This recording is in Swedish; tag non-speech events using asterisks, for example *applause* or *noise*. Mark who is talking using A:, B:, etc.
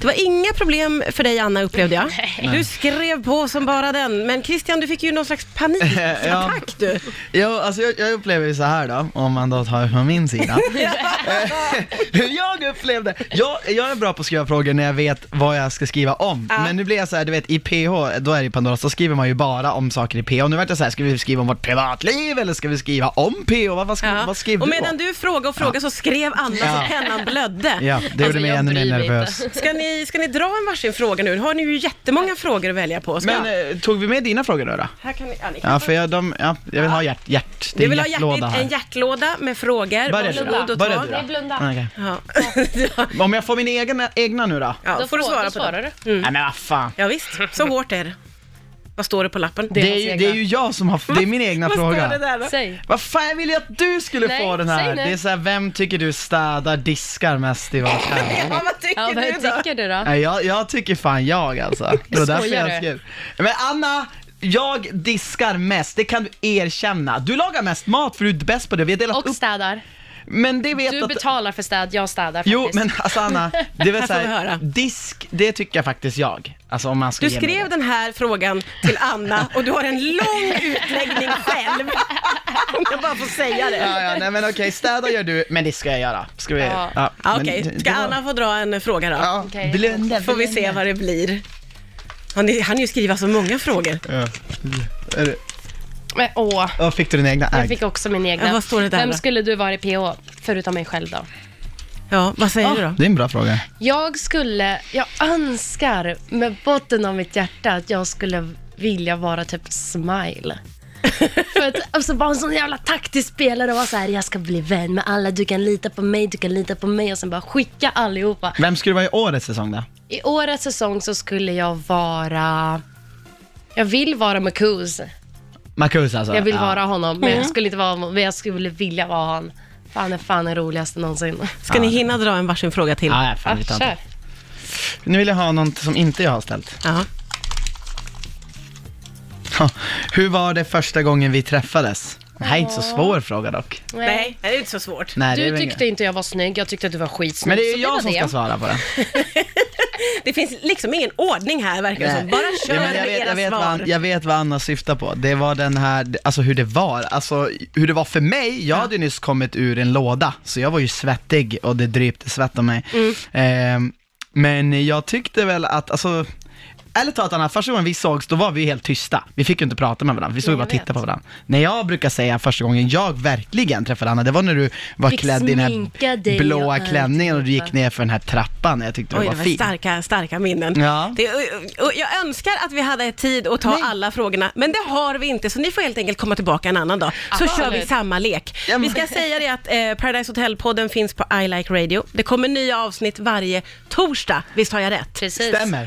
A: Det var inga problem för dig Anna upplevde jag. Du skrev på som bara den, men Christian du fick ju någon slags
B: *laughs*
A: panikattack du.
B: Jo, alltså jag, jag upplever ju så här då, om man då tar från min sida. Eh, *laughs* Hur jag upplevde, jag, jag är bra på att skriva frågor när jag vet vad jag ska skriva om. Men nu blir jag så här, du vet i PH, då är det ju Pandora, så skriver man ju bara om saker i PH. Nu vart jag så här, ska vi skriva om vårt privatliv eller ska vi skriva om PH? Vad, vad, ska,
A: Ja.
B: vad skriver
A: och
B: du
A: medan
B: om?
A: du frågade och frågade så skrev Anna
B: Ja.
A: så pennan blödde.
B: Ja, det gjorde
C: Alltså,
B: mig
C: jag
B: ännu mer
C: bryr mig inte.
B: nervös.
A: Ska, ni, ska ni dra en varsin fråga nu? Nu har ni ju jättemånga frågor att välja på. Ska
B: Men eh, tog vi med dina frågor då? då?
A: här kan ni, ja, ni kan
B: Ja,
A: ta-
B: för jag, de, ja, jag vill ha hjärt, hjärt. Det
A: du
B: är en
A: vill ha hjärtligt,
B: hjärtlåda
A: en
B: här.
A: hjärtlåda med frågor.
B: Börja du
A: Varsågod
B: då.
A: och
B: Börja
A: ta.
B: du
C: Det är
B: då.
C: blunda.
B: Okej.
A: Ja. *laughs*
B: Om jag får min egna, egna nu då?
A: Ja,
C: Då
A: får du
C: får-
A: svara
C: då
A: på
C: svarar
A: den.
C: du.
A: Mm.
B: Nej men vad fan.
A: Ja, visst, så hårt är det. Vad står det på lappen?
B: Det är, ju,
C: hans
B: det är
C: egna.
B: ju jag som har, det är min egna
A: Vad
B: fråga.
A: står det där då?
C: Säg.
B: Vad fan, jag ville ju att du skulle
C: Nej,
B: få den
C: säg
B: här.
C: nu.
B: Det är så här, vem tycker du städar diskar mest i vårt hem?
A: Ja, vad tycker
C: Ja, vad
A: du då?
C: tycker du då?
B: Nej, jag, jag tycker fan jag alltså. Det var därför
C: Skojar
B: jag
C: du?
B: skrev. Men Anna, jag diskar mest, det kan du erkänna. Du lagar mest mat för du är bäst på det. Vi har delat
C: Och
B: upp,
C: städar.
B: men det vet
C: Du
B: att...
C: betalar för städ, jag städar faktiskt.
B: Jo, men alltså Anna, det är väl
A: Här får vi höra.
B: såhär, disk, det tycker jag faktiskt jag. Alltså om man ska
A: Du
B: ge mig
A: skrev
B: det.
A: den här frågan till Anna och du har en
B: *laughs*
A: lång utläggning själv. Om jag bara får säga det.
B: Ja, ja, nej men okej, städa gör du, men det ska jag göra. Ska vi...
C: Ja.
A: Ja,
B: men
A: Okej,
B: det-
A: ska
B: det var-
A: Anna få dra en fråga då?
B: Ja,
C: Okej.
B: blunda,
A: Får vi
B: blunda.
A: se vad det blir. Han hann ju skriva så många frågor.
B: Ja. Är det-
C: Men åh.
B: Ja, fick du din egna
C: Jag
B: ägg?
C: fick också min egna.
A: Ja, vad står det där
C: Vem
A: då?
C: skulle du vara i PH, förutom mig själv då?
A: Ja, vad säger du då? *laughs*
B: Det är en bra fråga.
C: Jag skulle, jag önskar med botten av mitt hjärta att jag skulle vilja vara typ smile. För att alltså, vara en sån jävla taktisk spelare och vara så här, jag ska bli vän med alla, du kan lita på mig, du kan lita på mig och sen bara skicka allihopa.
B: Vem skulle vara i årets säsong då?
C: I årets säsong så skulle jag vara, jag vill vara Marcus.
B: Marcus alltså?
C: Jag vill
B: ja.
C: vara honom, men jag skulle inte vara honom, men jag skulle vilja vara han. Han är fan den roligaste någonsin.
A: Ska ni hinna dra en varsin fråga till?
B: Ja, ja, fan,
C: Ja,
B: vi tar
C: kör.
B: inte. Nu vill jag ha något som inte jag har ställt.
A: Ja.
B: Ha, Hur var det första gången vi träffades? Det här är inte så svår fråga dock.
A: Nej, det är inte så svårt.
B: Nej, det är
C: Du
B: väl
C: tyckte inte jag var snygg, jag tyckte att du var skitsnygg.
B: Men det är
C: så
B: ju jag
C: var
B: som
C: det.
B: ska svara på det.
A: Det finns liksom ingen ordning här verkar det som. Bara kör
B: Ja, men
A: med
B: jag, vet,
A: era
B: jag, vet vad,
A: svar.
B: An- jag vet vad Anna syftar på. Det var den här, alltså hur det var, alltså hur det var för mig. Jag hade ju nyss kommit ur en låda, så jag var ju svettig och det drypte svett om mig.
A: Mm.
B: Ehm, men jag tyckte väl att, alltså Ärligt talat Anna, första gången vi sågs då var vi helt tysta. Vi fick ju inte prata med varandra, vi stod
C: Nej,
B: bara
C: jag
B: och tittade
C: vet.
B: på varandra. När jag brukar säga första gången jag verkligen träffade Anna, det var när du var
C: Fick
B: klädd i den
C: sminka
B: här
C: dig och
B: blåa
C: allt.
B: klänningen och du gick ner för den här trappan. Jag tyckte du
A: Oj,
B: var,
A: det var
B: fin.
A: starka, starka minnen.
B: Ja.
A: Det, och- och jag önskar att vi hade tid att ta alla frågorna, men det har vi inte, så ni får helt enkelt komma tillbaka en annan dag, så
C: Absolut.
A: kör vi samma lek.
B: Ja,
A: Vi
B: men-
A: ska säga det att eh, Paradise Hotel-podden finns på I Like Radio. Det kommer nya avsnitt varje torsdag, visst har jag rätt?
C: Precis.
B: Stämmer.